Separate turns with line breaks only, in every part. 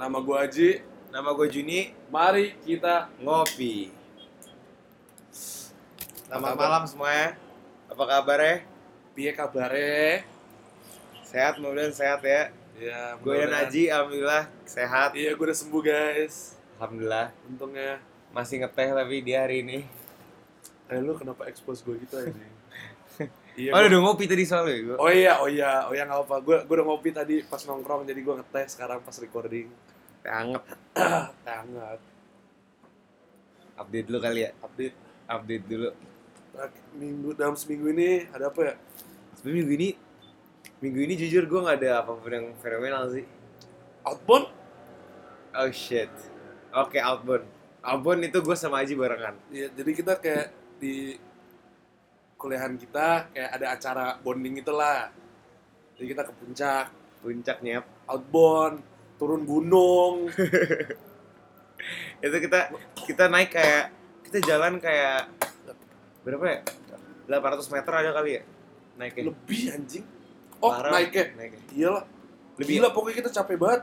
Nama gue Aji.
Nama gue Juni,
Mari kita Apa
ngopi. Selamat
kabar?
malam semuanya. Apa kabar ya?
piye kabare?
Sehat, mudah-mudahan sehat ya.
Ya,
Gue dan
mudah-mudahan-
Aji, alhamdulillah sehat.
Iya, gue udah sembuh guys.
Alhamdulillah.
Untungnya.
Masih ngeteh tapi dia hari ini.
Eh lu kenapa expose gue gitu aja? iya.
Oh,
gua-
udah ngopi tadi soalnya gue.
Oh iya, oh iya, oh iya nggak apa-apa. Gue gue udah ngopi tadi pas nongkrong, jadi gue ngeteh sekarang pas recording.
Anggap
Tangat.
update dulu kali ya.
Update
Update dulu.
Nah, minggu dalam seminggu ini ada apa ya?
Sebenernya minggu ini minggu ini jujur gue nggak ada apapun yang fenomenal sih.
Outbound?
Oh shit. Oke, outbound. Outbound itu gue sama Aji barengan.
Iya, jadi kita kayak di kuliahan kita kayak ada acara bonding itulah. Jadi kita ke puncak,
Puncaknya
outbound, turun gunung.
itu kita kita naik kayak kita jalan kayak berapa ya 800 meter ada kali ya naiknya
Lebih anjing. Oh,
Parah.
naiknya.
naiknya
Iyalah.
Lebih.
Gila, pokoknya kita capek banget.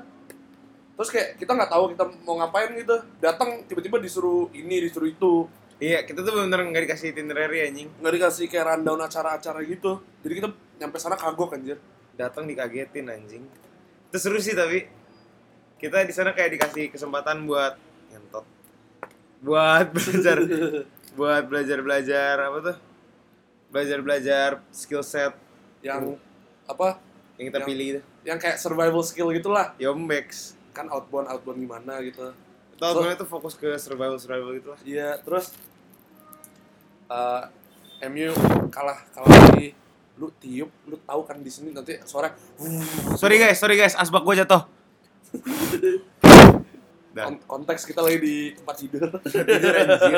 Terus kayak kita nggak tahu kita mau ngapain gitu. Datang tiba-tiba disuruh ini, disuruh itu.
iya kita tuh bener nggak dikasih itinerary anjing
Nggak dikasih kayak rundown acara-acara gitu. Jadi kita nyampe sana kagok anjir.
datang dikagetin anjing itu seru sih tapi kita di sana kayak dikasih kesempatan buat ngentot buat belajar buat belajar belajar apa tuh belajar belajar skill set
yang apa?
yang kita
Yang-
pilih itu
Yang kayak survival skill gitulah.
yombex
Kan outbound, outbound gimana gitu.
itu outbound
So-
itu fokus ke survival survival gitu lah
Iya, terus eh MU kalah kalah lagi. Lu tiup, lu tahu kan di sini nanti sore
Sorry guys, sorry guys, asbak gue jatuh. Dan
kon- konteks kita lagi di tempat tidur.
jujur anjir.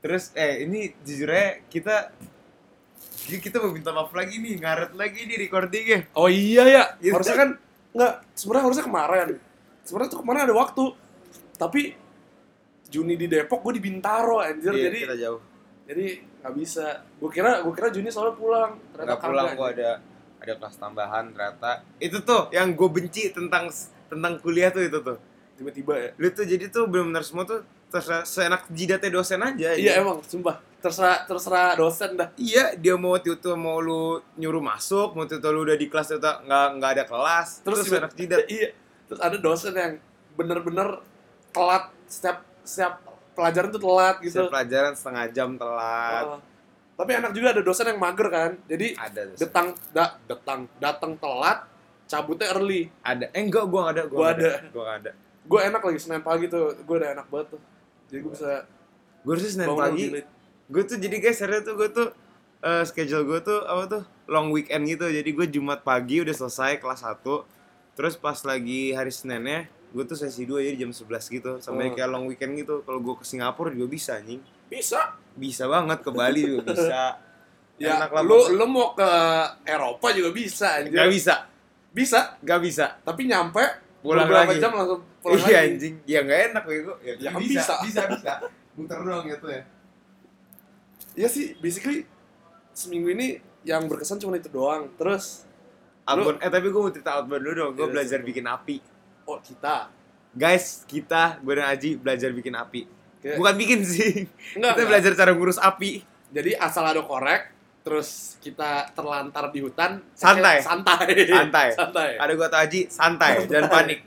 Terus eh ini jujurnya kita ki- kita mau minta maaf lagi nih, ngaret lagi nih recordingnya.
Oh iya ya,
Iya.
harusnya kan nggak sebenarnya harusnya kemarin. Sebenarnya tuh kemarin ada waktu. Tapi Juni di Depok, gue di Bintaro anjir.
Iya,
jadi
kita jauh.
jadi nggak bisa. Gue kira gue kira Juni soalnya pulang.
Nggak pulang
kagak,
gue
anjir.
ada ada kelas tambahan ternyata. Itu tuh yang gue benci tentang s- tentang kuliah tuh itu tuh.
Tiba-tiba ya.
Lu tuh jadi tuh benar-benar semua tuh terserah seenak jidatnya dosen aja.
Iya emang, sumpah. Terserah terserah dosen dah.
Iya, dia mau tutu mau lu nyuruh masuk, mau tutu lu udah di kelas tutu nggak nggak ada kelas, terus,
tiba-
anak jidat.
iya terus ada dosen yang bener-bener telat setiap setiap pelajaran tuh telat gitu
Bisa pelajaran setengah jam telat.
Heeh. tapi enak juga ada dosen yang mager kan jadi
Ada tuh.
datang da, datang datang telat cabutnya early
Ada. Eh enggak, gua nggak ada, gua,
Gua
nggak ada. Gua nggak ada.
gue enak lagi senin pagi tuh gue udah enak banget tuh jadi gue bisa
Gua harusnya senin
bangun
pagi.
lebih late.
Gua tuh jadi guys, serius tuh gua tuh eh, schedule gua tuh apa tuh long weekend gitu. Jadi gua Jumat pagi udah selesai kelas 1. Terus pas lagi hari Seninnya gue tuh sesi 2 jadi jam 11 gitu sampai
Oh.
kayak long weekend gitu kalau gue ke Singapura juga bisa anjing
bisa
bisa banget ke Bali juga bisa
ya
Enak lah,
lu
pokoknya.
lu mau ke Eropa juga bisa anjir
nggak bisa
bisa
Gak bisa.
tapi nyampe
Pulang
beberapa
lagi.
jam langsung pulang
iya
lagi
anjing. Ya nggak enak bego. Ya,
Ya, bisa.
bisa, bisa, bisa. Muter doang gitu ya.
Iya sih, basically seminggu ini yang berkesan cuma itu doang. Terus,
Outbound, eh tapi gue mau cerita outbound dulu dong. Gue
Iya,
belajar
iya.
bikin api.
oh kita.
Guys, kita, gue dan Aji belajar bikin api.
Kayak-
Bukan bikin sih.
Enggak,
kita
enggak.
belajar cara ngurus api.
Jadi asal ada korek, terus kita terlantar di hutan.
Santai.
kayak Santai.
Santai.
Santai.
Ada gue atau Aji, santai, jangan panik.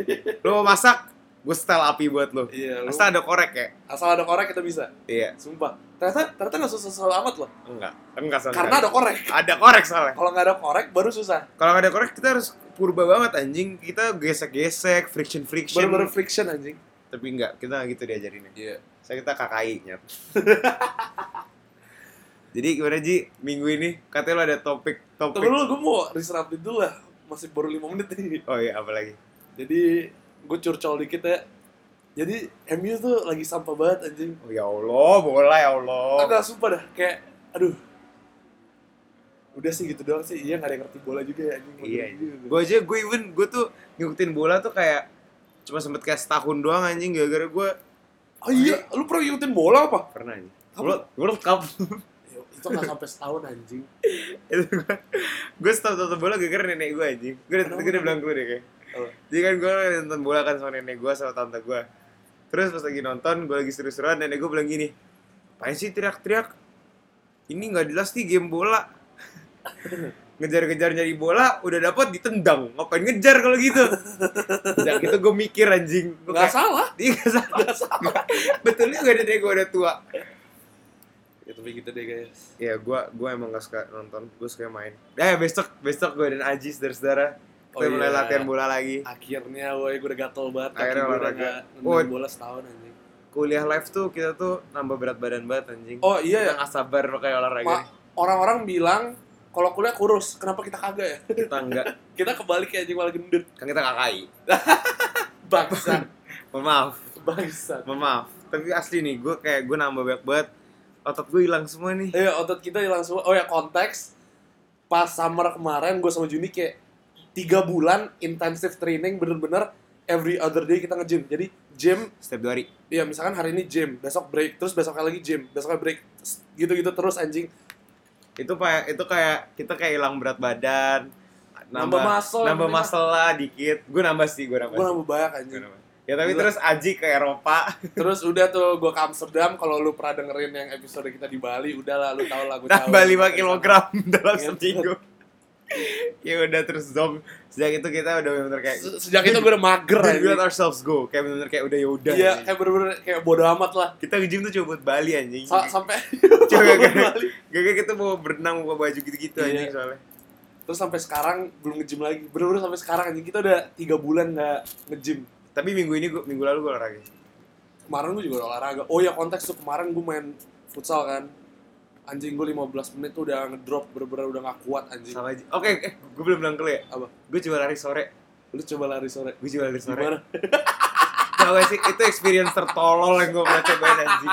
Lo mau masak, gue setel api buat lo.
Iya, lu-
Asal ada korek ya?
asal ada korek kita bisa.
Iya.
Sumpah. Ternyata ternyata nggak susah-susah amat loh.
Enggak. Enggak sama
Karena
sekali.
ada korek.
ada korek soalnya.
Kalau nggak ada korek baru susah.
Kalau nggak ada korek kita harus purba banget anjing. Kita gesek-gesek, friction-friction.
Baru-baru friction anjing.
Tapi enggak, kita nggak gitu diajarinnya.
Iya.
Saya kita KKI nyet. Jadi gimana Ji, minggu ini katanya lo ada topik topik.
Tunggu dulu, gue mau research update dulu lah. Masih baru 5 menit nih.
Oh iya, apa lagi?
Jadi, gue curcol dikit ya. Jadi, MU tuh lagi sampah banget anjing.
Oh ya Allah, bola ya Allah.
Enggak, sumpah dah. Kayak, aduh. Udah sih gitu doang sih. Iya, gak ada yang ngerti bola juga ya. anjing.
Iya,
Gitu.
Gue aja gue even gue tuh ngikutin bola tuh kayak cuma sempet kayak setahun doang anjing gara-gara gue
Oh iya, lu pernah ngikutin bola apa?
pernah anjing.
Apa?
World, World Cup
Ya, Itu gak sampai setahun anjing.
itu gue gue stop tonton bola gara-gara nenek gue anjing. Gue udah
Kenapa?
gue udah bilang gue deh kayak.
Apa?
Jadi kan gue nonton bola kan sama nenek gue sama tante gue. Terus pas lagi nonton, gue lagi seru-seruan, nenek gue bilang gini, Apaan sih teriak-teriak? Ini nggak jelas nih game bola. Ngejar-ngejar nyari bola, udah dapat ditendang. Ngapain ngejar kalau gitu? Dan itu gue mikir anjing. Gue
nggak
kayak,
salah
"Ih, nggak salah.
nggak salah
Betul juga nenek gue udah tua.
ya tapi gitu deh guys
Ya gue gua emang gak suka nonton, gue suka main. Eh besok, besok gue dan Aji saudara-saudara. Kita
Oh,
mulai
iya.
latihan bola lagi.
akhirnya woi gue udah gatel banget kaki gue
Akhirnya
udah
olahraga.
nggak
Woi.
nendang bola setahun anjing
kuliah live tuh kita tuh nambah berat badan banget anjing.
oh iya ya
Kita nggak sabar pakai olahraga.
Ma- orang-orang bilang kalau kuliah kurus kenapa kita kagak ya
Kita enggak
kita kebalik ya anjing malah gendut
kan kita kakai.
bangsa
Mohon maaf,
bangsa
mohon maaf. Tapi asli nih, gue kayak gue nambah banyak banget. Otot gue hilang semua nih.
Iya, otot kita hilang semua. Oh ya, konteks pas summer kemarin gue sama Juni kayak tiga bulan intensive training bener-bener every other day kita nge-gym. Jadi gym,
Setiap dua hari.
ya misalkan hari ini gym, besok break, terus besoknya lagi gym, besoknya break, s- gitu-gitu terus anjing.
Itu kayak itu kayak kita kayak hilang berat badan.
Nambah muscle,
Nambah
namanya.
muscle lah dikit. Gue nambah sih, gue nambah.
Gue
sih.
nambah banyak
Gua
anjing.
nambah. Ya tapi
Gila.
terus Aji ke Eropa.
Terus udah tuh gue ke Amsterdam, kalau lu pernah dengerin yang episode kita di Bali, udah lah lu tau lah gue
nambah 5 kilogram dalam
Iya.
seminggu. ya udah terus dong. Sejak itu kita udah bener-bener kayak
Sejak itu gue udah mager
We
anjing.
let ourselves go. Kayak bener-bener kayak udah yaudah.
Iya,
anjing.
kayak bener-bener kayak bodo amat lah.
Kita ke gym tuh coba buat Bali anjing.
Sa- sampai
Coba gak
Bali.
gak kita mau berenang mau baju gitu-gitu
Iya.
anjing soalnya.
terus sampai sekarang belum nge-gym lagi bener-bener sampai sekarang anjing kita udah tiga bulan nggak nge-gym
Tapi minggu ini gua, minggu lalu gue olahraga.
kemarin gue juga udah olahraga oh ya konteks tuh kemarin gue main futsal kan anjing gue 15 menit tuh udah ngedrop bener-bener udah nggak kuat anjing
Sama aja. Oke, eh, gue belum bilang ke lu ya.
apa
Gue coba lari sore.
lu coba lari sore
Gue coba lari sore.
gimana
Tau gak sih itu experience tertolol yang gue pernah cobain anjing.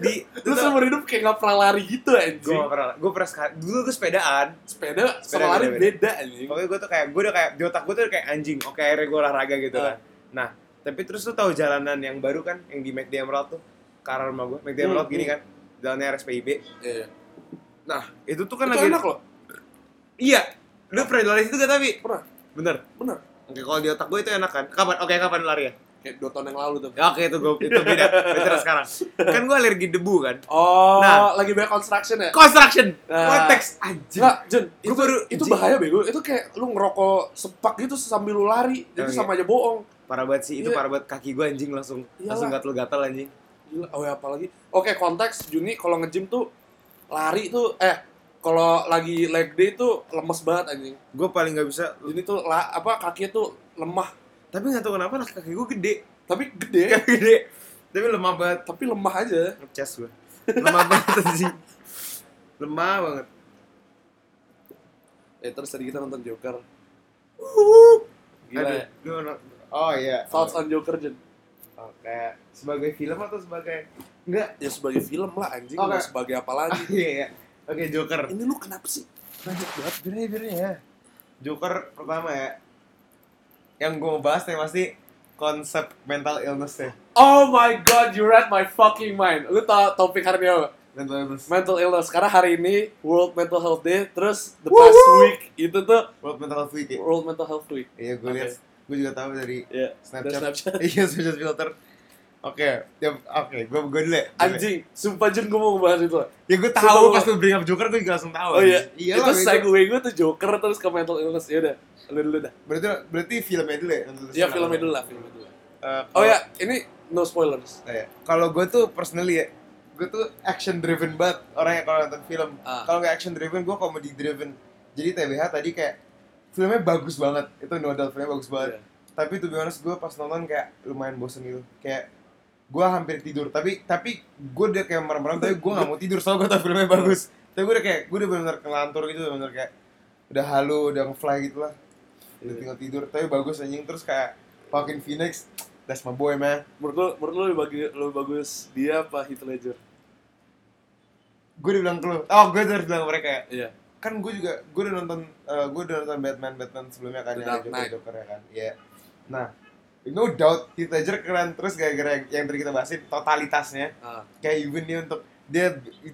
Di
lu seumur hidup kayak nggak pernah lari gitu
gue
anjing
pernah. Gue pernah sekali. Dulu gue sepedaan.
sepeda
Sepeda
sama lari
beda-beda.
beda anjing
Pokoknya gue tuh kayak gue udah kayak di otak gue tuh kayak anjing. Oke, akhirnya gue olahraga gitu
Ah.
kan. Nah, tapi terus tuh tahu jalanan yang baru kan yang di McD Emerald tuh ke arah rumah gue. McD
Hmm,
Emerald gini
hmm.
kan. Jalannya RSPIB.
iya iya.
Nah, itu tuh kan
itu
lagi
enak loh
Iya. Lu pernah lari situ gak tapi?
pernah
Bener.
bener
Oke, kalau di otak gue itu enak kan? Kapan? Oke, kapan lari ya?
kayak dua tahun yang lalu tuh
Ya, Oke, itu gue itu beda. Beda sekarang. Kan gue alergi debu kan.
oh
Nah.
lagi banyak construction ya
Construction.
Nah.
Konteks anjing.
Enggak, Jun,
Gua
itu,
baru-
itu
anjing.
bahaya bego. Itu kayak lu ngerokok sepak gitu sambil lu lari. Jadi
Oh, iya.
sama aja bohong.
Parah banget sih, itu
Iya.
parah banget kaki gue anjing langsung
Iyalah.
langsung gatel-gatel anjing.
Gila, oh ya apalagi. Oke, konteks Juni kalau nge-gym tuh lari tuh eh kalau lagi leg day tuh lemes banget anjing.
Gue paling gak bisa.
Juni tuh la, apa kaki tuh lemah,
Tapi gak tau kenapa lah kaki gue gede.
tapi gede,
Kaki gede. Tapi lemah banget.
tapi lemah aja.
Ngecas gue. Lemah banget anjing. Lemah banget.
Eh terus tadi kita nonton Joker. Gila.
Aduh,
ya.
lu orang- Oh iya.
Thoughts on Joker Jun?
Oh, kayak sebagai film atau sebagai enggak
Ya sebagai film lah anjing,
Oke.
nggak sebagai apa lagi.
iya iya oke Joker
Ini lu kenapa sih?
banyak banget birnya birnya ya Joker pertama ya yang gue mau bahas nih pasti konsep mental illness ya
Oh my god, you read my fucking mind. Lu tau topik hari ini apa?
mental illness
mental illness karena hari ini World Mental Health Day terus the
Woo!
past week itu tuh
world mental health week ya
World Mental Health Week
iya gue lihat gue juga tahu dari
ya dari
Snapchat
Snapchat
iya Snapchat filter oke ya, oke gue gue dulu ya Gua dulu ya.
anjing sumpah Jun gue mau ngebahas itu
ya gue
Sumpah,
tahu
gua-
pas lu bring up Joker gue juga langsung tahu
oh iya
iya
itu segue gue tuh Joker terus ke mental illness ya udah lu dulu dah
berarti berarti filmnya dulu ya mental
ya
illness.
filmnya dulu lah filmnya dulu
Eh,
oh
kalau-
ya ini no spoilers
Nah, ya. Kalau gue tuh personally ya, gue tuh action driven banget orangnya kalau nonton film.
Ah.
Kalau nggak action driven, gue comedy driven. Jadi TBH tadi kayak filmnya bagus banget, itu no doubt filmnya bagus banget.
Iya.
Tapi to be honest, gue pas nonton kayak lumayan bosen gitu. Kayak gue hampir tidur, tapi tapi gue udah kayak merem-merem, tapi gue nggak mau tidur soalnya gue tau filmnya bagus. Tapi gue udah kayak gue udah benar-benar kelantur gitu, benar-benar kayak udah halu, udah nge-fly gitu lah. Udah
Iya.
tinggal tidur, tapi bagus anjing terus kayak Joaquin Phoenix, that's my boy man.
menurut lu menurut lu lebih bagus, lebih bagus dia apa Heath Ledger
gue dibilang ke lu oh gue harus bilang ke mereka ya
iya
kan gue juga gue udah nonton eh, gue udah nonton Batman Batman sebelumnya kan
The
yang
Dark
ada Joker
Knight.
Joker ya kan iya nah no doubt Heath Ledger keren terus gara-gara yang, yang tadi kita bahasin totalitasnya
Ah.
kayak even dia untuk dia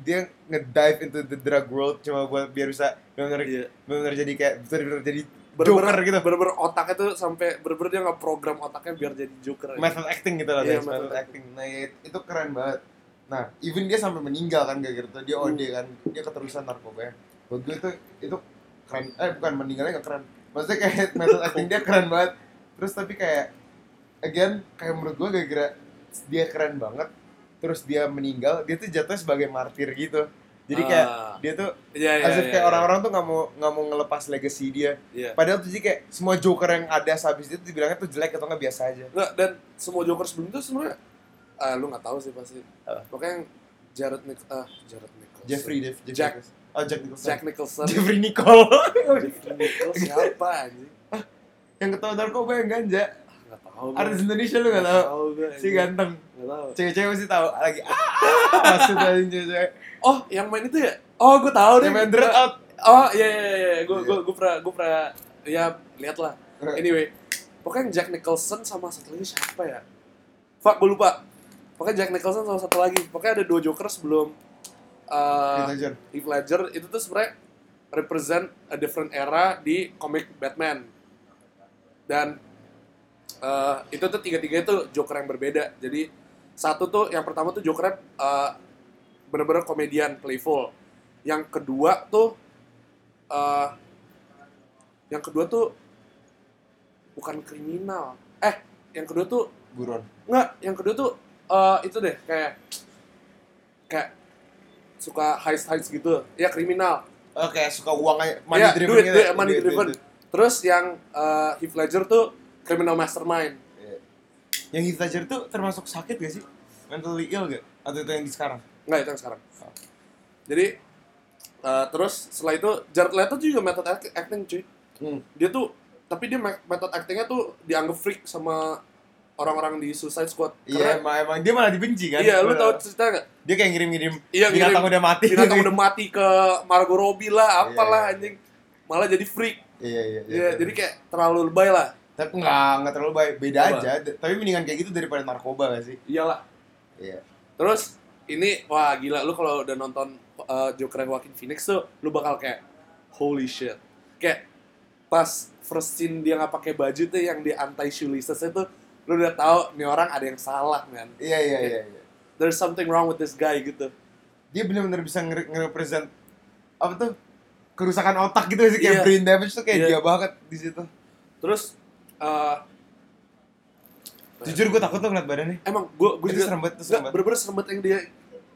dia ngedive into the drug world cuma buat biar bisa benar
Iya.
benar jadi kayak benar jadi Joker gitu.
Bener-bener otaknya tuh sampai bener-bener dia nggak program otaknya biar jadi joker. gitu.
method acting gitu lah
Iya,
guys,
method
method acting. Nah, ya, itu keren banget. Nah, even dia sampai meninggal kan gara-gara itu dia OD kan, dia keterusan narkoba. Buat gue itu itu keren. Eh bukan meninggalnya gak keren. Maksudnya kayak method acting dia keren banget. Terus tapi kayak again kayak menurut gue gara-gara dia keren banget terus dia meninggal dia tuh jatuh sebagai martir gitu jadi kayak
Ah,
dia tuh
iya, iya,
asal
iya,
kayak
iya.
orang-orang tuh nggak mau nggak mau ngelepas legacy dia
Iya.
padahal tuh jadi kayak semua joker yang ada sehabis itu dibilangnya tuh jelek atau nggak biasa aja
Nggak, dan semua Joker sebelum itu sebenarnya ah, lu nggak tahu sih pasti.
Apa?
Pokoknya yang Jared Nich ah Jared Nicholson.
Jeffrey, Jeff, Jeff
Jack.
Nicholson. Oh, Jack Nicholson.
Jack Nicholson.
Jeffrey Nicole.
Jeffrey Nicholson siapa anjing?
yang ketawa narkoba yang ganja.
Ah, Nggak tahu. gua.
Artis Indonesia lu gak tau.
gua,
Si
anjing.
ganteng.
Nggak tahu.
Cewek-cewek sih tahu lagi. Ah, maksud anjing cewek-cewek.
Oh, yang main itu ya? Oh, gue tahu deh.
Yang main dread out.
Oh iya iya iya, iya. gue gue gue pernah gue pernah ya lihat lah. Anyway, pokoknya Jack Nicholson sama satu lagi siapa ya? Fuck gue lupa. Pokoknya Jack Nicholson sama satu lagi. Pokoknya ada dua Joker sebelum
Heath
uh,
Ledger.
Heath Ledger itu tuh sebenarnya represent a different era di komik Batman. Dan eh, itu tuh tiga-tiga itu Joker yang berbeda. Jadi satu tuh yang pertama tuh Joker eh, bener-bener komedian playful. Yang kedua tuh eh, yang kedua tuh bukan kriminal. Eh, yang kedua tuh
Buron.
Nggak, yang kedua tuh eh, itu deh kayak kayak suka heist heist gitu ya kriminal
Oh, kayak suka uang aja. Money
ya,
driven
duit,
gitu.
duit, money
Duit, duit,
driven
duit.
terus yang eh, Heath Ledger tuh criminal mastermind
Iya. Yang Heath Ledger tuh termasuk sakit gak sih? Mentally ill gak? Atau itu yang di sekarang?
nggak itu yang sekarang jadi eh, terus setelah itu Jared Leto juga method act- acting cuy
Hmm.
dia tuh tapi dia me- method actingnya tuh dianggap freak sama orang-orang di Suicide Squad
Iya, emang, emang dia malah dibenci kan?
iya lu tahu cerita nggak
Dia kayak ngirim-ngirim
Iya, ngirim-
binatang udah mati.
binatang udah mati ke Margot Robbie lah apalah
Iya.
anjing malah jadi freak
Iya, iya,
Iya, jadi kayak terlalu lebay lah
tapi nggak nggak terlalu baik beda
Apa?
aja D- tapi mendingan kayak gitu daripada narkoba gak sih
iyalah
iya
terus ini wah gila lu kalau udah nonton uh, Joker yang Joaquin Phoenix tuh lu bakal kayak holy shit kayak pas first scene dia nggak pakai baju tuh yang di anti shoelaces itu lu udah tahu nih orang ada yang salah man
iya iya iya, iya.
there's something wrong with this guy gitu
dia benar-benar bisa nge- nge-represent apa tuh kerusakan otak gitu sih kayak
Iya.
brain damage tuh kayak
Iya.
dia banget di situ
terus uh,
jujur gue takut tuh ngeliat badannya
emang gua gua
Itu
juga
serem banget, itu serem
nggak,
banget.
bener-bener serem banget yang dia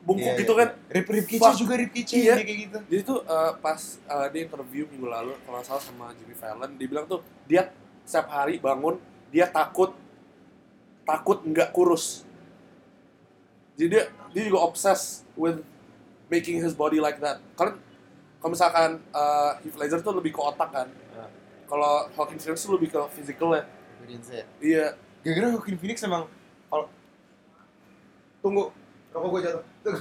bungkuk
Iya,
gitu
iya.
kan
Rip Rip
Fuck.
Kitchen juga Rip Kitchen
Iya.
dia kayak gitu
Jadi tuh eh, pas eh, dia interview minggu lalu kalau nggak salah sama Jimmy Fallon, dia bilang tuh dia setiap hari bangun dia takut takut nggak kurus. Jadi dia, dia juga obses with making his body like that. Karena kalau misalkan eh, Heath Ledger tuh lebih ke otak kan.
Ah.
Kalau Hawking Phoenix tuh lebih ke physical ya. Iya.
gara-gara Joaquin Phoenix emang kalau tunggu rokok gue jatuh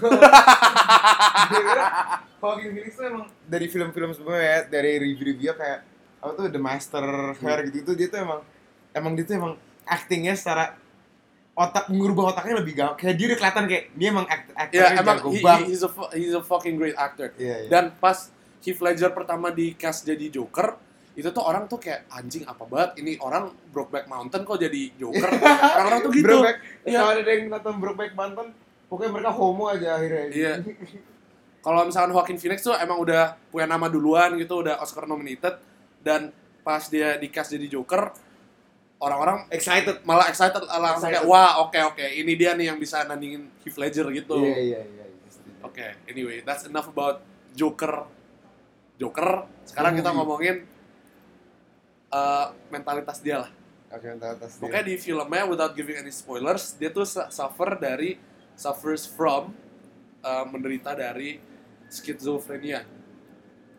gara-gara Joaquin Phoenix tuh emang dari film-film sebelumnya ya, dari review-review kayak apa tuh The Master
Hmm.
Hair gitu gitu dia tuh emang emang dia tuh emang actingnya secara otak ngubah otaknya lebih gampang kayak dia udah kelihatan kayak dia emang act
Iya,
actornya
emang
jago
he-
banget.
he- he's a fu- he's a fucking great actor.
Iya, iya.
Dan pas Heath Ledger pertama di cast jadi Joker, itu tuh orang tuh kayak anjing apa banget ini orang Brokeback Mountain kok jadi Joker. Orang-orang tuh gitu.
Brokeback,
Iya.
kalau ada yang nonton Brokeback Banten, pokoknya mereka homo aja akhirnya.
Iya. Kalau misalkan Joaquin Phoenix tuh emang udah punya nama duluan gitu, udah Oscar nominated dan pas dia di cast jadi Joker, orang-orang
Excited.
malah excited langsung kayak
Excited.
wah oke oke ini dia nih yang bisa nandingin Heath Ledger gitu.
Iya iya iya. iya.
Oke, anyway, that's enough about Joker. Joker, sekarang kita
Movie.
ngomongin eh, mentalitas dia lah.
Oke, entar atas dia.
Pokoknya di filmnya, without giving any spoilers, dia tuh su- suffer dari, suffers from, eh, menderita dari skizofrenia.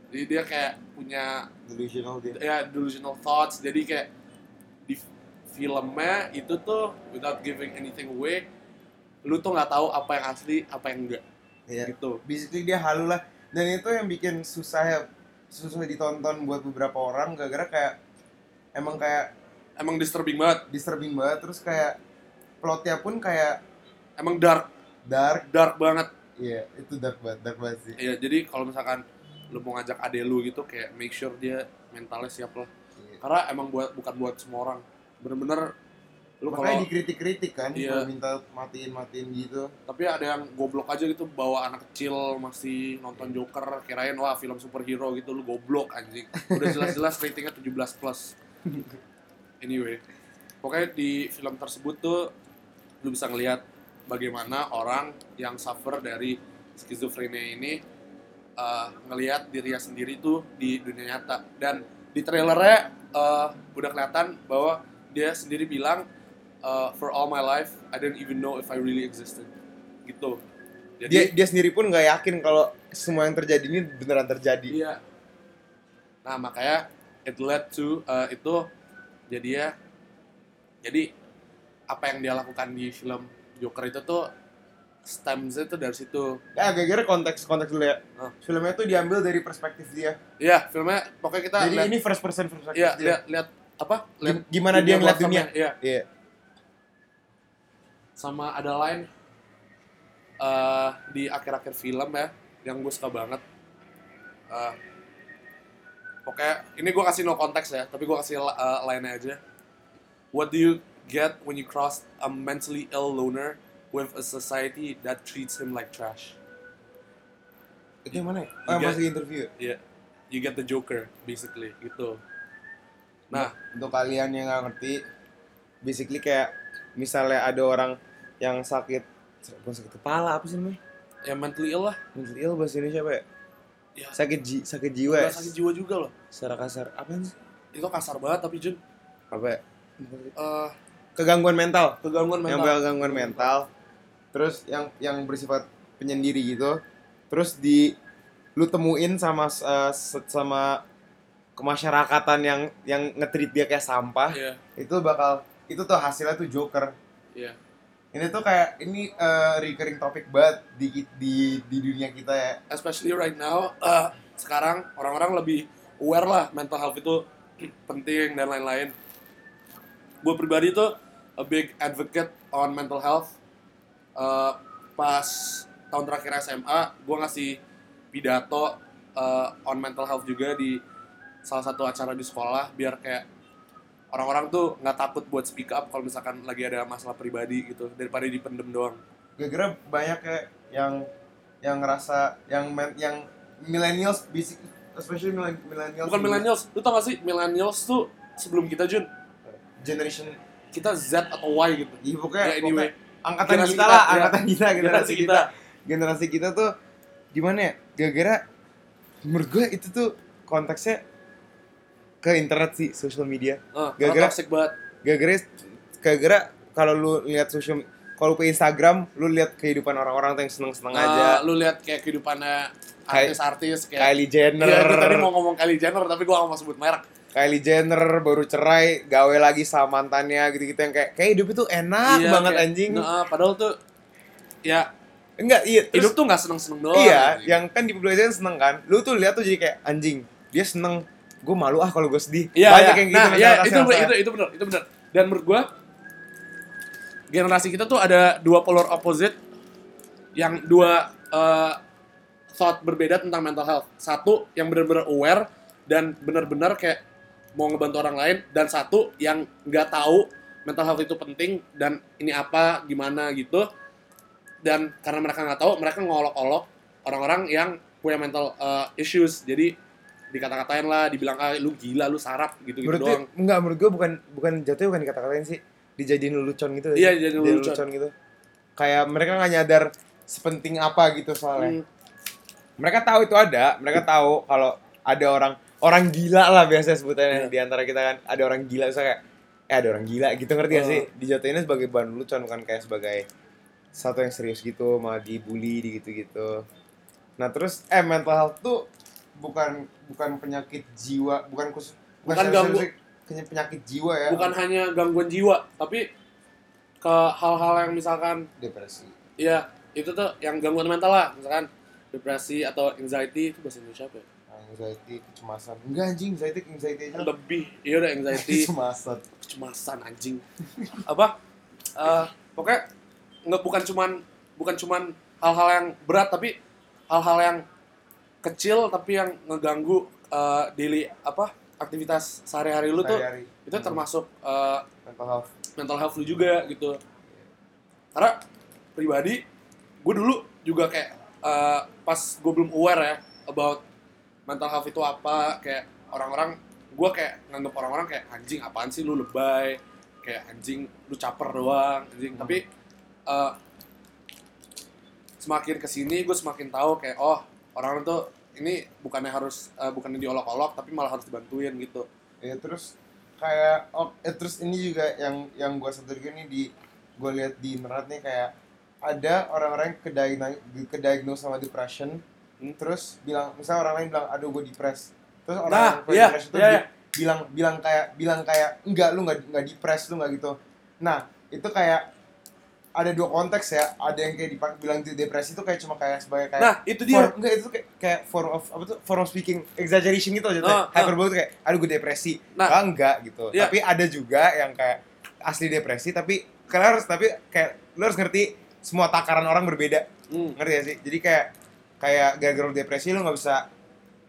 Jadi dia kayak punya
delusional dia.
ya delusional thoughts jadi kayak di filmnya itu tuh without giving anything away lu tuh nggak tahu apa yang asli apa yang enggak
Iya.
gitu
Basically dia halu lah. Dan itu yang bikin susah ya susah ditonton buat beberapa orang gara-gara kayak emang kayak
emang disturbing banget
disturbing banget terus kayak plotnya pun kayak
emang dark
dark
dark banget Iya,
iya itu dark banget dark banget sih
ya jadi kalau misalkan lu mau ngajak ade lu gitu kayak make sure dia mentalnya siap lah
Iya.
karena emang buat bukan buat semua orang bener-bener lu
Makanya
kalau
dikritik-kritik kan,
Iya.
kalau minta matiin-matiin gitu.
tapi ada yang goblok aja gitu bawa anak kecil masih nonton Joker kirain wah film superhero gitu lu goblok anjing udah jelas-jelas ratingnya 17 plus anyway pokoknya di film tersebut tuh lu bisa ngelihat bagaimana orang yang suffer dari skizofrenia ini eh, ngelihat dirinya sendiri tuh di dunia nyata dan di trailernya eh, udah kelihatan bahwa dia sendiri bilang eh, for all my life I didn't even know if I really existed gitu
dia
jadi
dia sendiri pun nggak yakin kalau semua yang terjadi ini beneran terjadi
dia Iya. nah makanya it led to eh, itu jadi ya jadi apa yang dia lakukan di film Joker itu tuh stems itu dari situ
ya gara-gara konteks konteks dulu ya
Hah.
filmnya tuh diambil dari perspektif dia
Iya, filmnya pokoknya kita
jadi
lihat,
ini first person perspektif
nah. iya,
dia
lihat lihat apa? Lihat
Gim- gimana dia ngeliat
luar
dunia
sana, Iya,
iya
sama ada lain eh di akhir-akhir film ya yang gue suka banget. Eh pokoknya ini gue kasih no konteks ya, tapi gue kasih eh, lainnya aja. What do you get when you cross a mentally ill loner with a society that treats him like trash?
itu yang mana ya? oh yang
Iya.
pas lagi interview ya?
Iya, you get the Joker basically gitu. Nah,
untuk kalian yang nggak ngerti basically kayak misalnya ada orang yang sakit bukan sakit kepala apa sih namanya
yang ya mentally ill lah,
mental ill bahasa Indonesia apa ya
ya
sakit ji sakit jiwa ya?
nggak sakit jiwa juga loh.
secara kasar apa sih
itu kasar banget tapi Jun
apa ya?
eh,
kegangguan mental
kegangguan
yang
mental
gangguan mental terus yang yang bersifat penyendiri gitu terus di lu temuin sama eh, se- sama kemasyarakatan yang yang ngetrit dia kayak sampah
iya
itu bakal itu tuh hasilnya tuh joker
iya
ini tuh kayak ini eh, recurring topik banget di di di dunia kita ya
especially right now eh, sekarang orang-orang lebih aware lah mental health itu penting dan lain-lain gue pribadi tuh a big advocate on mental health Eh, pas tahun terakhir SMA gue ngasih pidato eh, on mental health juga di salah satu acara di sekolah biar kayak orang-orang tuh nggak takut buat speak up kalau misalkan lagi ada masalah pribadi gitu daripada dipendem doang
gara-gara banyak kayak yang yang ngerasa yang men, yang millennials basic especially millen- millennials
bukan millennials lu tau gak sih millennials tuh sebelum kita Jun
generation
kita Z atau Y gitu
ya pokoknya,
ya anyway
pokoknya angkatan
Generasi
kita
kita,
lah
ya.
angkatan kita generasi
generasi
kita
kita
generasi kita tuh gimana ya gara-gara menurut gue itu tuh konteksnya ke internet sih social media
eh, karena
Gara-gara-
toxic banget
gara-gara gara-gara kalau lu lihat social kalau ke Instagram lu lihat kehidupan orang-orang tuh yang seneng-seneng aja
Eh, lu lihat kayak kehidupannya
Kayak-
artis-artis kayak
Kylie Jenner
Iya, gue tadi mau ngomong Kylie Jenner tapi gue gak mau sebut merek
Kylie Jenner baru cerai gawe lagi sama mantannya gitu-gitu yang kayak kayak hidup itu enak
Iya,
banget
kayak-
anjing
Nah, eh, padahal tuh ya
enggak iya terus-
hidup tuh nggak seneng-seneng doang
iya,
anjing.
yang kan di publikasikan seneng kan. Lu tuh lihat tuh jadi kayak anjing. Dia seneng. Gue malu ah kalau gue sedih.
Iya,
Banyak
iya.
yang gitu.
nah,
masalah
iya, itu,
rasa-rasa.
itu itu benar, itu benar. Dan menurut gua generasi kita tuh ada dua polar opposite yang dua eh, thought berbeda tentang mental health. Satu yang benar-benar aware dan benar-benar kayak mau ngebantu orang lain dan satu yang nggak tahu mental health itu penting dan ini apa gimana gitu dan karena mereka nggak tahu mereka ngolok-olok orang-orang yang punya mental eh, issues jadi dikata-katain lah dibilang ah, lu gila lu sarap gitu gitu
Menurut
doang
gue- enggak menurut gue bukan bukan jatuhnya bukan dikata-katain sih. Dijadiin lelucon gitu.
Iya, dijadiin lelucon.
gitu. Kayak mereka nggak nyadar sepenting apa gitu soalnya.
Hmm,
Mereka tahu itu ada, mereka tahu kalau ada orang orang gila lah biasanya
Iya.
sebutannya di antara kita kan. Ada orang gila misalnya kayak eh ada orang gila gitu ngerti gak
Oh.
sih? Dijatuhinnya sebagai bahan lelucon bukan kayak sebagai satu yang serius gitu, malah dibully di gitu-gitu. Nah, terus eh mental health tuh bukan bukan penyakit jiwa, bukan khusus
Bukan
serius-
ganggu-
serius- serius- penyakit jiwa ya.
bukan hanya gangguan jiwa tapi ke hal-hal yang misalkan
depresi.
ya itu tuh yang gangguan mental lah misalkan depresi atau anxiety itu bahasa Indonesia apa ya?
Anxiety, kecemasan. Enggak anjing, anxiety anxiety aja.
lebih iya udah anxiety
kecemasan.
kecemasan anjing apa Eh pokoknya nggak bukan cuman bukan cuman hal-hal yang berat tapi hal-hal yang kecil tapi yang ngeganggu eh, daily apa aktivitas sehari-hari lu tuh
Sehari-hari.
itu termasuk eh,
mental health
mental health lu juga gitu karena pribadi gue dulu juga kayak eh, pas gue belum aware ya about mental health itu apa kayak orang-orang gue kayak nganggep orang-orang kayak anjing apaan sih lu lebay kayak anjing lu caper doang anjing tapi eh, semakin kesini gue semakin tahu kayak oh orang tuh ini bukannya harus eh, bukannya diolok-olok tapi malah harus dibantuin gitu
ya terus kayak oh eh, terus ini juga yang yang gue sadar juga nih di gue lihat di internet nih kayak ada orang-orang yang kediagno- kediagnose sama depression
Hmm.
terus bilang misalnya orang lain bilang aduh gue depres terus orang
Nah,
yang
iya,
depression tuh
iya,
bi-
iya.
bilang bilang kayak bilang kayak enggak lu nggak nggak depres lu nggak gitu nah itu kayak ada dua konteks ya ada yang kayak dipak bilang itu depresi itu kayak cuma kayak sebagai kayak
nah itu dia
Form- enggak itu kayak, kayak form of apa tuh form of speaking exaggeration gitu aja
Nah, nah.
hyperbole tuh kayak aduh gue depresi
Nah.
Ah, enggak gitu
Iya.
tapi ada juga yang kayak asli depresi tapi karena harus tapi kayak lu harus ngerti semua takaran orang berbeda
Hmm.
ngerti ya sih jadi kayak kayak gara-gara lu depresi lu nggak bisa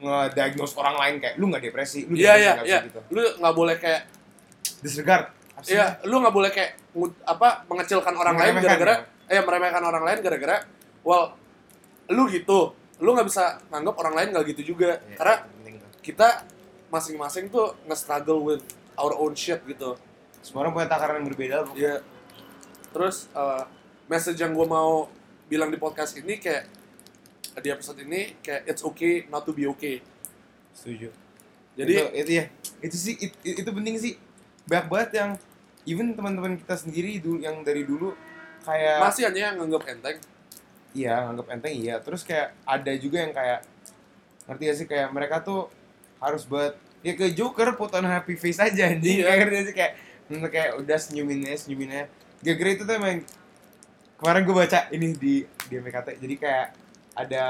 ngediagnose orang lain kayak lu nggak depresi
Iya
lu depresi,
iya
nggak
iya.
bisa gitu
Lu nggak boleh kayak
disregard Apa sih?
iya, lu nggak boleh kayak ngu- apa mengecilkan orang lain
Meremehkan, ya.
gara-gara eh meremehkan orang lain gara-gara well lu gitu. Lu nggak bisa nganggap orang lain nggak gitu juga.
Iya,
Karena
penting tuh.
kita masing-masing tuh nge-struggle with our own shit gitu.
semua orang punya takaran yang berbeda pokoknya.
Iya. Terus eh, message yang gue mau bilang di podcast ini kayak di episode ini kayak it's okay not to be okay.
setuju
Jadi
itu, itu ya itu sih it- it- itu penting sih banyak banget yang even teman-teman kita sendiri dulu yang dari dulu kayak
masih hanya yang nganggap enteng.
iya nganggap enteng iya terus kayak ada juga yang kayak ngerti gak sih kayak mereka tuh harus buat ya ke Joker put on happy face aja
Iya.
anjing kayak ngerti gak sih kayak hmm, kayak udah senyumin aja senyumin aja gara-gara itu tuh emang kemarin gue baca ini di di MKT jadi kayak ada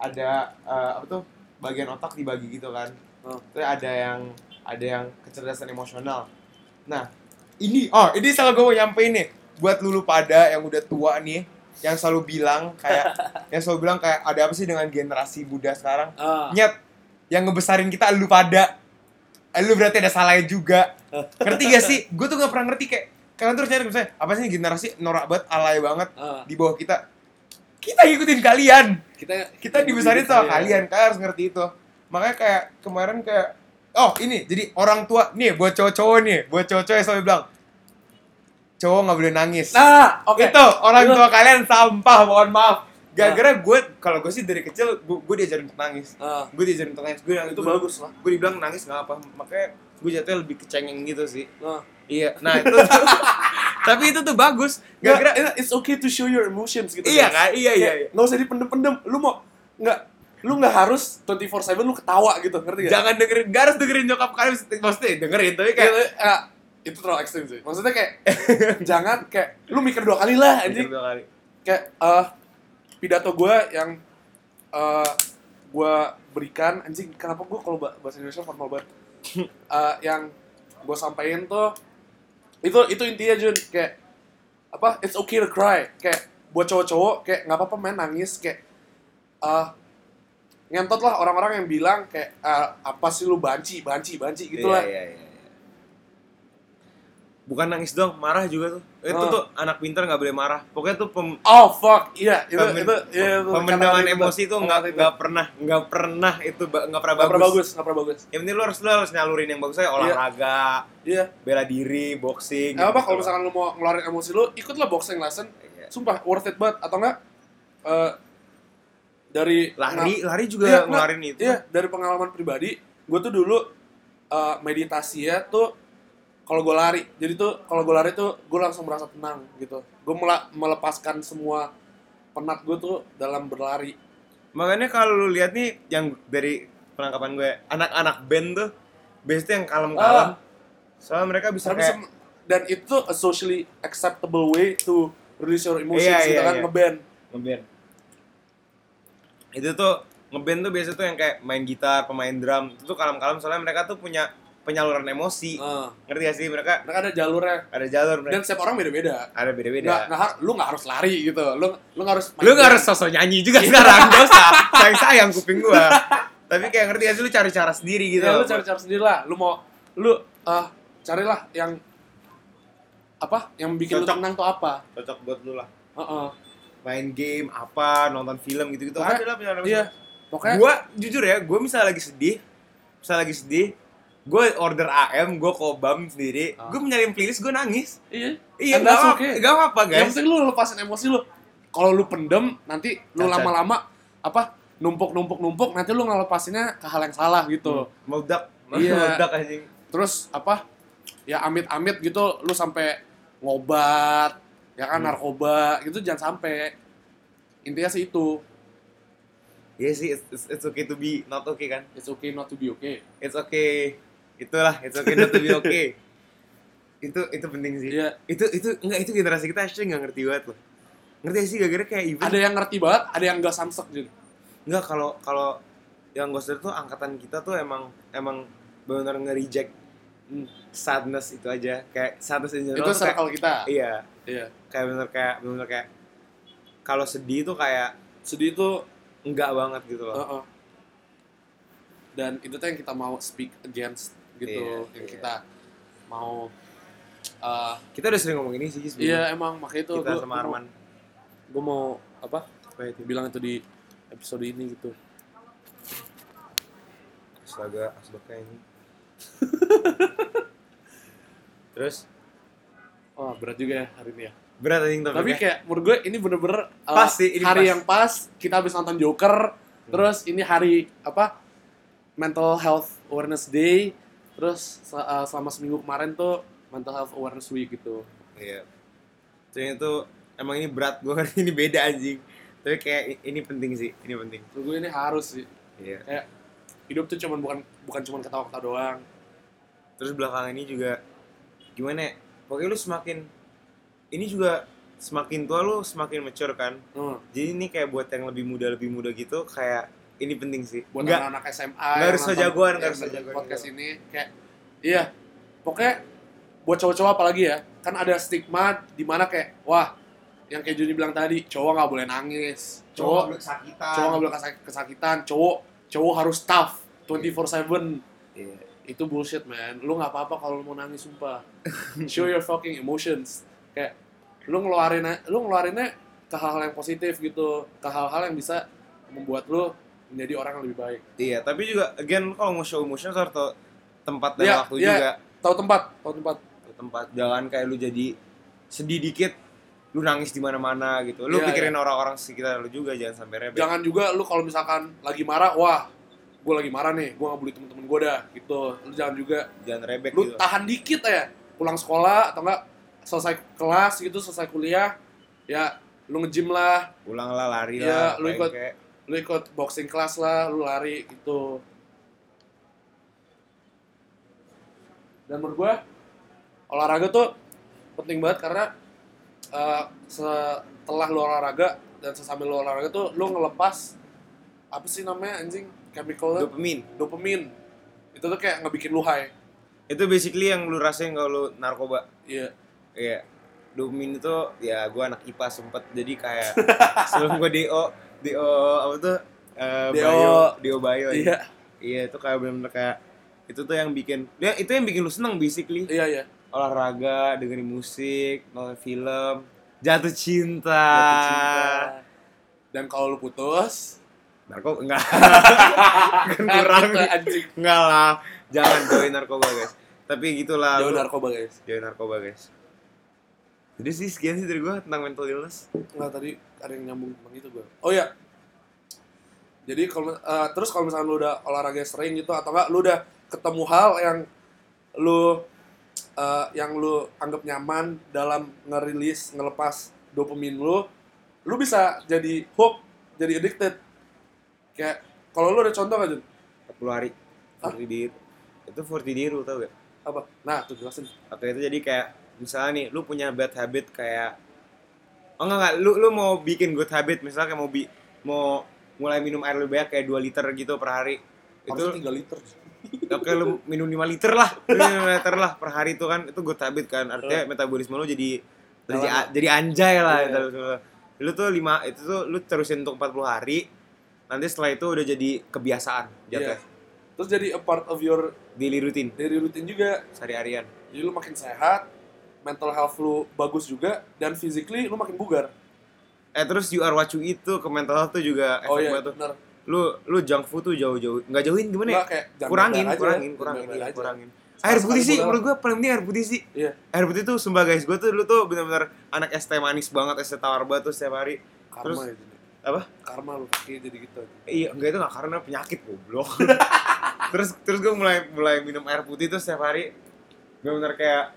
ada eh, apa tuh bagian otak dibagi gitu kan
Oh.
terus ada yang ada yang kecerdasan emosional nah ini oh ini salah gue mau nyampein nih buat lulu pada yang udah tua nih yang selalu bilang kayak yang selalu bilang kayak ada apa sih dengan generasi muda sekarang
Ah,
nyet yang ngebesarin kita lu pada Eh, lu berarti ada salahnya juga ngerti gak sih gue tuh gak pernah ngerti kayak kalian terus nyari misalnya apa sih generasi norak banget alay banget
ah.
di bawah kita kita ngikutin kalian
kita Iya.
kita dibesarin sama kalian kalian harus ngerti itu makanya kayak kemarin kayak oh ini jadi orang tua nih buat cowok-cowok nih buat cowok-cowok yang selalu bilang cowok nggak boleh nangis
Nah, oke.
itu orang
Itu.
tua kalian sampah mohon maaf gara-gara
Nah.
gue kalau gue sih dari kecil gue, gue diajarin untuk nangis
Ah,
gue diajarin untuk nangis gue nangis
itu
gue-
bagus lah.
gue dibilang nangis nggak apa makanya gue jatuhnya lebih kecengeng gitu sih
Nah,
iya nah itu tuh- tapi itu tuh bagus gara-gara
Gara-gara it's okay to show your emotions gitu.
iya
guys.
kan iya iya, iya.
Kayak, Nggak usah dipendem-pendem. Lu mau nggak lu nggak harus 24/7 lu ketawa gitu, ngerti gak?
jangan dengerin gak harus dengerin nyokap kalian maksudnya dengerin tapi kayak
Gitu, eh, itu terlalu ekstrim sih. Maksudnya kayak jangan kayak lu mikir iya. dua kali lah
Mikir
anjing.
dua kali.
Kayak eh pidato gua yang eh gua berikan anjing kenapa gua kalau ba- bahasa Indonesia formal banget. Eh, yang gua sampaikan tuh itu itu intinya Jun kayak apa it's okay to cry kayak buat cowok-cowok kayak nggak apa-apa main nangis kayak ah ngentot lah orang-orang yang bilang kayak ah, apa sih lu banci banci banci gitu lah
Iya, iya, iya. Bukan nangis dong, marah juga tuh. Itu
Oh.
tuh anak pintar nggak boleh marah. Pokoknya tuh pem,
oh fuck iya itu
Pemen-
itu, iya, itu
pemenangan
kata-kata
emosi tuh nggak
Kata-kata itu.
nggak pernah nggak pernah itu ba- nggak pernah
nggak
bagus.
pernah bagus nggak pernah bagus
Yang penting lu harus lu harus nyalurin yang bagus aja olahraga,
iya
bela diri, boxing. gitu.
Nggak apa kalau misalkan lu mau ngeluarin emosi lu ikutlah boxing lesson
Iya.
sumpah worth it banget atau enggak eh dari
lari lari juga
Iya,
ngeluarin
nggak.
itu.
Iya, dari pengalaman pribadi, gue tuh dulu eh, meditasi ya tuh kalau gue lari. Jadi tuh kalau gue lari tuh gue langsung merasa tenang gitu. Gue melepaskan semua penat gue tuh dalam berlari.
Makanya kalau lu lihat nih yang dari penangkapan gue anak-anak band tuh biasanya yang kalem-kalem.
Ah.
Soalnya mereka bisa
Tapi
kayak
sem- dan itu tuh a socially acceptable way to release your emotions
Iya,
gitu
iya,
kan
iya.
ngeband.
ngeband itu tuh ngeband tuh biasa tuh yang kayak main gitar pemain drum itu tuh kalem-kalem soalnya mereka tuh punya penyaluran emosi
Heeh.
ngerti gak sih mereka
Mereka Nah, ada jalurnya
ada jalur
Oh. dan
mereka
setiap orang
ada
beda-beda. Nggak,
beda-beda
nggak har- lu nggak harus lari gitu. Lu lu nggak harus
lu gak harus sosok nyanyi juga sekarang gak usah sayang sayang Iya. kuping gua
tapi kayak ngerti gak sih lu cari cara sendiri gitu
ya,
loh.
lu cari-cari sendiri lah lu mau lu eh carilah yang apa yang bikin
Cocok.
lu tenang tuh apa
cocok buat lu lah
Heeh.
main game apa nonton film gitu gitu
Oke.
ada lah pilihan
iya pokoknya
gue jujur ya gue misalnya lagi sedih misalnya lagi sedih gue order AM gue kobam sendiri
Ah.
gue menyalain playlist gue nangis
iya
iya
And
nggak
that's
apa
okay.
nggak apa
yang
guys
penting lu lepasin emosi lu kalau lu pendem nanti lu
Cacat.
lama-lama apa numpuk numpuk numpuk nanti lu ngelepasinnya ke hal yang salah gitu
meledak
Iya.
meledak anjing
terus apa ya amit-amit gitu lu sampai ngobat ya kan
Hmm.
narkoba gitu jangan sampai intinya sih itu
Iya sih, it's, it's, it's okay to be not okay kan?
it's okay not to be okay
It's okay. Itulah, it's okay not to be okay. itu itu penting sih.
Iya.
Itu itu enggak itu generasi kita actually nggak ngerti banget loh. Ngerti gak sih gara-gara kayak even
ada yang ngerti banget ada yang gak samsek gitu
enggak kalau kalau yang gue sadar tuh angkatan kita tuh emang emang benar nge-reject
Hmm.
sadness itu aja kayak sadness in general
itu
tuh kayak-
circle kita
iya
iya
kayak bener kayak bener kayak kalau sedih tuh kayak
sedih itu
enggak banget gitu loh
uh-uh. dan itu tuh yang kita mau speak against gitu
Iya,
yang
iya.
kita mau uh,
kita udah sering ngomong ini sih Jis,
iya emang makanya itu
kita sama Arman
gue mau apa
Apa ya, itu?
bilang itu di episode ini gitu
Astaga, asbaknya ini. Terus
wah berat juga ya hari ini ya
berat anjing tapi,
Tapi kayak menurut gue ini bener-bener uh,
Pas sih, ini
hari
pas. Hmm.
yang pas kita habis nonton Joker, terus ini hari apa Mental Health Awareness Day, terus se- uh, selama seminggu kemarin tuh Mental Health Awareness Week gitu.
iya. Ternyata tuh emang ini berat gue ini beda anjing. Tapi kayak i- ini penting sih, ini penting.
Menurut gue ini harus sih
Iya.
kayak hidup tuh cuman bukan bukan cuman ketawa-ketawa doang.
Terus belakangan ini juga gimana ya? Pokoknya lu semakin ini juga semakin tua lu semakin mature kan.
Hmm.
Jadi ini kayak buat yang lebih muda lebih muda gitu kayak ini penting sih.
Buat
Nggak-
anak-anak SMA.
nggak
yang
harus
nonton-
sejagoan,
yang
nggak harus
nonton
sejagoan
Podcast
gitu.
ini kayak iya. Pokoknya buat cowok-cowok apalagi ya, kan ada stigma di mana kayak wah yang kayak Juni bilang tadi, cowok nggak boleh nangis, cowok
Oh,
sakitan
Iya.
cowok nggak boleh kesak- kesakitan cowok cowok harus tough 24/7
Iya.
itu bullshit man lu nggak apa-apa kalau lu mau nangis sumpah show your fucking emotions kayak lu ngeluarin lu ngeluarinnya ke hal-hal yang positif gitu ke hal-hal yang bisa membuat lu menjadi orang yang lebih baik
Iya, tapi juga again lu kalau mau show emotion harus tahu tempat dan
Iya,
waktu
iya.
juga.
tahu tempat tahu tempat
ke tempat jangan kayak lu jadi sedih dikit lu nangis di mana-mana gitu lu
Iya,
pikirin orang-orang sekitar lu juga jangan sampai rebel
jangan juga lu kalau misalkan lagi marah wah gue lagi marah nih gue nggak bully temen-temen gue dah gitu lu jangan juga
jangan rebek
lu
gitu
tahan dikit ya pulang sekolah atau enggak selesai kelas gitu selesai kuliah ya lu nge-gym lah
pulang lah lari
Iya,
lah
lu
main
ikut.
kayak-
lu ikut boxing kelas lah lu lari gitu dan menurut gua olahraga tuh penting banget karena eh, setelah lu olahraga dan sesambil lu olahraga tuh lu ngelepas apa sih namanya anjing chemical
dopamin
dopamin itu tuh kayak ngebikin lu high
itu basically yang lu rasain kalau lu narkoba
iya
iya dopamin itu ya gua anak IPA sempet jadi kayak sebelum gua DO DO apa tuh Eh,
DO.
bio DO bio ya.
iya
iya itu kayak bener-bener kayak itu tuh yang bikin ya, itu yang bikin lu seneng basically
iya iya
olahraga, dengerin musik, nonton film, jatuh cinta.
Jatuh cinta. Dan kalau lu putus,
Narko enggak. kan kurang.
Narko, anjing.
Enggak lah. Jangan join narkoba, guys. Tapi gitulah.
Jauh
lu
narkoba guys.
Jauhin narkoba, guys. Jadi sih sekian sih dari gua tentang mental illness.
Enggak tadi ada yang nyambung tentang itu gue. Oh iya. Jadi kalau eh, terus kalau misalnya lu udah olahraga sering gitu atau enggak lu udah ketemu hal yang lu eh, yang lu anggap nyaman dalam ngerilis, ngelepas dopamin lu, lu bisa jadi hook, jadi addicted. Kayak kalau lu ada contoh nggak, Jun?
40 hari.
Hah?
40 day. Itu 40 day rule tau gak?
Apa? Nah, tuh jelasin.
Atau itu jadi kayak misalnya nih lu punya bad habit kayak Oh enggak enggak, lu lu mau bikin good habit misalnya kayak mau bi mau mulai minum air lebih banyak kayak 2 liter gitu per hari. Itu
Harusnya 3 liter.
Ya, Oke lu minum 5 liter lah, Lu minum 5 liter lah per hari itu kan itu good habit kan. Artinya metabolisme lu jadi jadi,
Dalam.
jadi anjay lah gitu.
Iya.
metabolisme lu. Lu tuh 5 itu tuh lu terusin untuk 40 hari. nanti setelah itu udah jadi kebiasaan
Iya.
jatuh
Terus jadi a part of your
daily routine
daily routine juga.
sehari-harian
Jadi lu makin sehat, mental health lu bagus juga, dan physically lu makin bugar.
eh terus you are what you eat tuh ke mental health tuh juga efek
oh iya,
banget tuh
bener.
lu lu junk food tuh jauh-jauh nggak jauhin gimana ya
Nggak, kayak jangan
kurangin
berdar aja,
kurangin
jangan
kurangin
berdar
iya,
aja.
kurangin
Sekali-sekali
air putih sih
boleh lah.
menurut gua paling penting air putih sih
Iya.
air putih tuh sumpah guys gua tuh lu tuh bener-bener anak es teh manis banget es teh tawar banget tuh setiap hari
Karma
Terus-
ya jadi.
apa
Karma lu kaki jadi gitu.
Eh, Iya, enggak itu enggak karena penyakit goblok. terus terus gue mulai mulai minum air putih tuh setiap hari. Gue bener kayak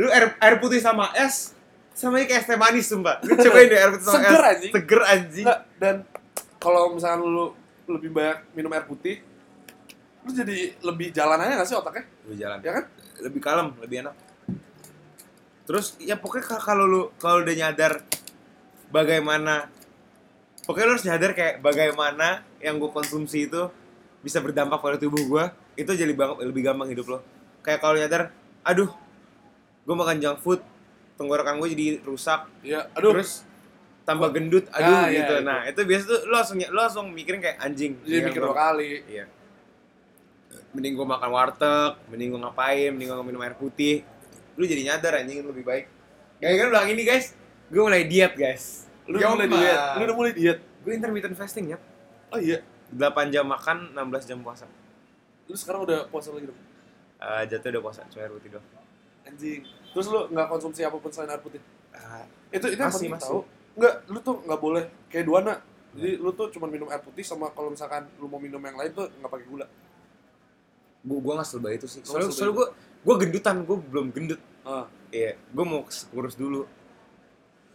lu air, air putih sama es sama aja kayak es teh manis sumpah. Lu cobain deh air putih sama
Seger,
es.
anjing.
Seger anjing.
Nggak, dan kalau misalkan lu lebih banyak minum air putih, lu jadi lebih jalan aja nggak sih otaknya?
Gue jalan.
Ya kan?
Lebih kalem, lebih enak. Terus ya pokoknya ka- kalau lu kalau udah nyadar bagaimana pokoknya lu harus nyadar kayak bagaimana yang gue konsumsi itu bisa berdampak pada tubuh gue itu jadi bang- lebih gampang hidup lo kayak kalau nyadar aduh gue makan junk food tenggorokan gue jadi rusak
Iya, aduh.
terus tambah gendut
Ah,
aduh
iya,
gitu
itu.
nah itu biasa tuh lo langsung lo langsung mikirin kayak anjing
jadi
Iya,
mikir
gua-
dua kali.
Iya. Mending gue makan warteg, mending gue ngapain, mending gue minum air putih. Lu jadi nyadar anjing itu lebih baik. Kayak kan belakang ini guys, gue mulai diet guys.
Lu udah
Yoma.
mulai diet. Lu udah mulai diet.
Gue intermittent fasting ya.
Oh iya,
8 jam makan, 16 jam puasa.
lu sekarang udah puasa lagi dong.
Eh, jatuh udah puasa, cuma air putih doang.
Anjing. Terus lu nggak konsumsi apapun selain air putih.
Eh,
Itu itu yang
Masih,
penting
masih.
tahu. Enggak, lu tuh nggak boleh kayak Duana. Jadi lu tuh cuma minum air putih sama kalau misalkan lu mau minum yang lain tuh nggak pakai gula.
gue gua nggak selebay itu
Lu
sih.
nggak
Soalnya,
selebay.
soalnya gue gue gendutan, gue belum gendut.
Ah.
Iya, gue mau kurus dulu.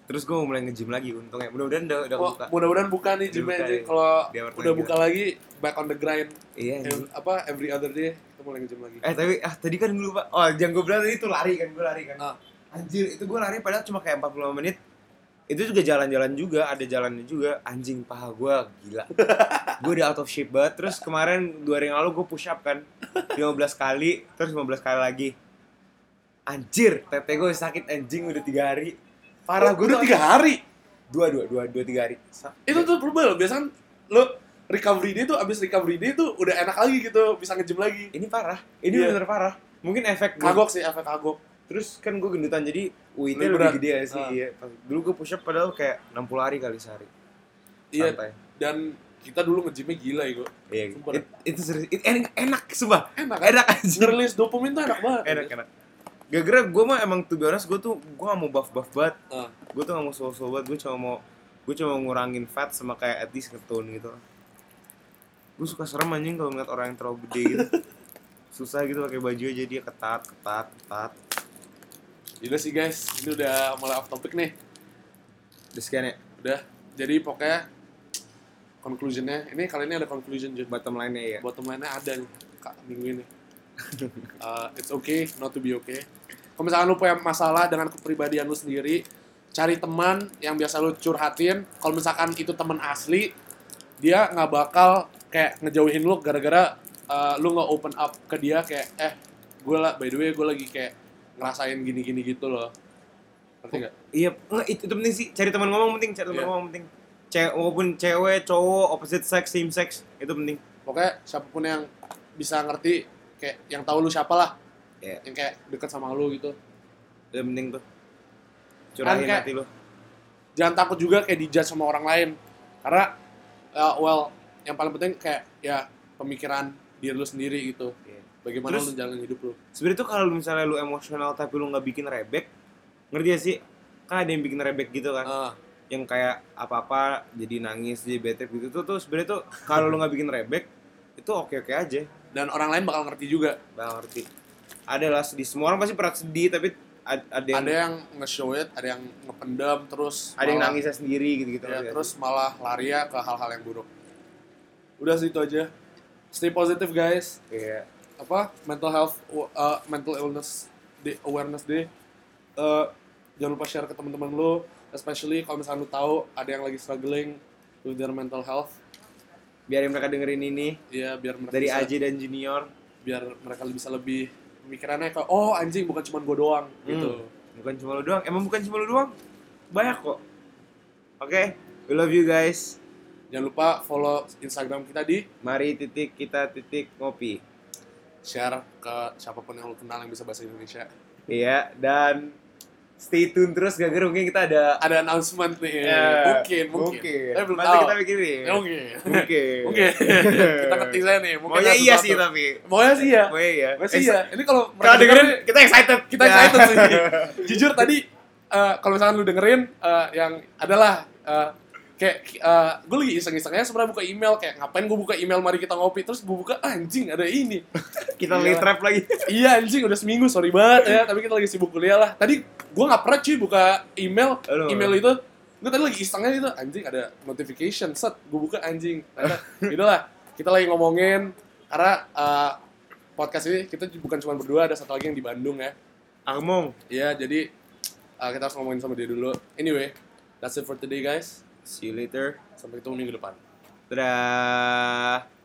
Terus gue mau mulai nge-gym lagi untungnya. Mudah-mudahan udah udah
Wah,
buka.
mudah-mudahan buka nih
Udah
gymnya
buka,
anjing.
iya.
Kalau
Dia warna
udah
hijau.
buka lagi back on the grind.
Iya. anjing.
Ev- apa every other day kita mau gym lagi.
Eh tapi ah tadi kan dulu pak, oh yang gue bilang tadi itu lari kan gue lari kan.
Ah.
Anjir itu gue lari padahal cuma kayak 45 menit. Itu juga jalan-jalan juga, ada jalannya juga. Anjing paha gue gila. gue udah out of shape banget. Terus kemarin dua hari yang lalu gue push up kan 15 kali, terus 15 kali lagi. Anjir, tete gue sakit anjing udah tiga hari. Parah gue
Oh, udah tiga hari.
dua dua dua dua tiga hari. Sa-
Itu tuh berubah loh. Biasanya lu recovery day tuh abis recovery day tuh udah enak lagi gitu bisa nge-gym lagi.
ini parah, ini
Iya.
bener parah. Mungkin efek gua-
Kagok sih efek kagok.
Terus kan gue gendutan jadi UIT
Lebih
lebih,
berat.
gede ya sih.
Ah.
Iya. Dulu gue push up padahal kayak 60 hari kali sehari.
Iya.
Santai.
Dan kita dulu nge-gymnya gila ya, gua.
Iya.
Sumpah.
It- Itu serius. It, enak, enak sumpah.
Enak kan?
Enak aja.
Ngerilis dopamin tuh enak banget.
enak kan? enak. Gara-gara gue mah emang tuh honest gue tuh gue gak mau buff buff banget.
Ah.
Gue tuh gak mau slow slow banget. Gue cuma mau gue cuma mau ngurangin fat sama kayak at least ngetone gitu. Gue suka serem anjing kalau ngeliat orang yang terlalu gede gitu. Susah gitu pakai baju aja dia ketat ketat ketat.
Yaudah sih guys, ini udah mulai off topic nih.
Udah sekian ya.
Udah. Jadi pokoknya conclusionnya, ini kali ini ada conclusion Jun.
Bottom line-nya ya.
Bottom line-nya ada nih, Kak, minggu ini. Uh, it's okay not to be okay. Kalau misalkan lu punya masalah dengan kepribadian lu sendiri, cari teman yang biasa lu curhatin. Kalau misalkan itu teman asli, dia nggak bakal kayak ngejauhin lu gara-gara uh, lu nggak open up ke dia kayak eh gue lah by the way gue lagi kayak ngerasain gini-gini gitu loh. Ngerti nggak?
Iya, nggak, itu, itu penting sih. Cari teman ngomong penting, cari teman
Iya.
ngomong penting. Cewek maupun cewek, cowok, opposite sex, same sex, itu penting.
Pokoknya siapapun yang bisa ngerti kayak yang tahu lu siapa lah.
Iya.
Yang kayak deket sama lu gitu.
Itu penting tuh. Curahin
Kan kayak-
hati lo.
jangan takut juga kayak dijudge sama orang lain karena uh, well yang paling penting kayak ya pemikiran diri lu sendiri gitu
Iya.
bagaimana
Terus-
lu jalanin hidup lu
Sebenarnya tuh kalau misalnya lu emosional tapi lu nggak bikin rebek, ngerti ya sih? Kan ada yang bikin rebek gitu kan.
Ah,
yang kayak apa-apa jadi nangis, jadi bete gitu tuh tuh sebenarnya tuh kalau lu nggak bikin rebek itu oke-oke aja.
dan orang lain bakal ngerti juga
Bang ngerti. Adalah sedih. Semua orang pasti pernah sedih tapi ad- ada yang
ada yang nge-show it ada yang ngependam terus
ada yang gitu
malah-
nangisnya sendiri gitu-gitu.
ya,
ngerti nggak
terus malah lari ya ke hal-hal yang buruk udah sih itu aja stay positive guys
sih? Iya.
apa mental health uh, mental illness day, awareness day Uh, jangan lupa share ke teman-teman lu especially kalau misalnya lu tahu ada yang lagi struggling with their mental health
biarin mereka dengerin ini
ya biar mereka
dari
bisa-
Aji dan Junior
biar mereka bisa lebih pemikirannya kayak oh anjing bukan cuma gue doang
Hmm.
gitu
bukan cuma lu doang emang bukan cuma lu doang banyak kok oke we love you guys
Jangan lupa follow Instagram kita di
Mari titik kita titik ngopi.
share ke siapapun yang lu kenal yang bisa bahasa Indonesia.
Iya, dan stay tune terus gak gerung mungkin kita ada
Ada announcement nih.
Ya,
Eh, mungkin, mungkin.
mungkin.
Tapi belum
Nanti
tahu.
kita pikirin.
Ya, mungkin.
Mungkin.
Mungkin. kita ketik saya nih. Mungkin
Maunya
ada
iya
sesuatu.
sih tapi.
Maunya sih ya.
Maunya iya.
Maunya sih
Eh,
ya. Iya. Ini kalau
Kalau
mereka
dengerin kita excited.
kita excited sih. Jujur tadi eh, kalau misalkan lu dengerin eh, yang adalah eh, kayak eh, gue lagi iseng-isengnya sebenarnya buka email kayak ngapain gue buka email mari kita ngopi terus gue buka "Ah, anjing ada ini Gila.
Kita lagi trap lagi.
iya anjing udah seminggu sorry banget ya tapi kita lagi sibuk kuliah lah tadi gue nggak pernah cuy buka email
Aduh.
email itu gue tadi lagi isengnya itu anjing ada notification set gue buka anjing Ternyata, gitu lah kita lagi ngomongin karena eh, podcast ini kita bukan cuma berdua ada satu lagi yang di Bandung ya
Among.
Iya, jadi uh, kita harus ngomongin sama dia dulu. Anyway, that's it for today guys.
See you later.
Sampai ketemu minggu depan.
Dadah.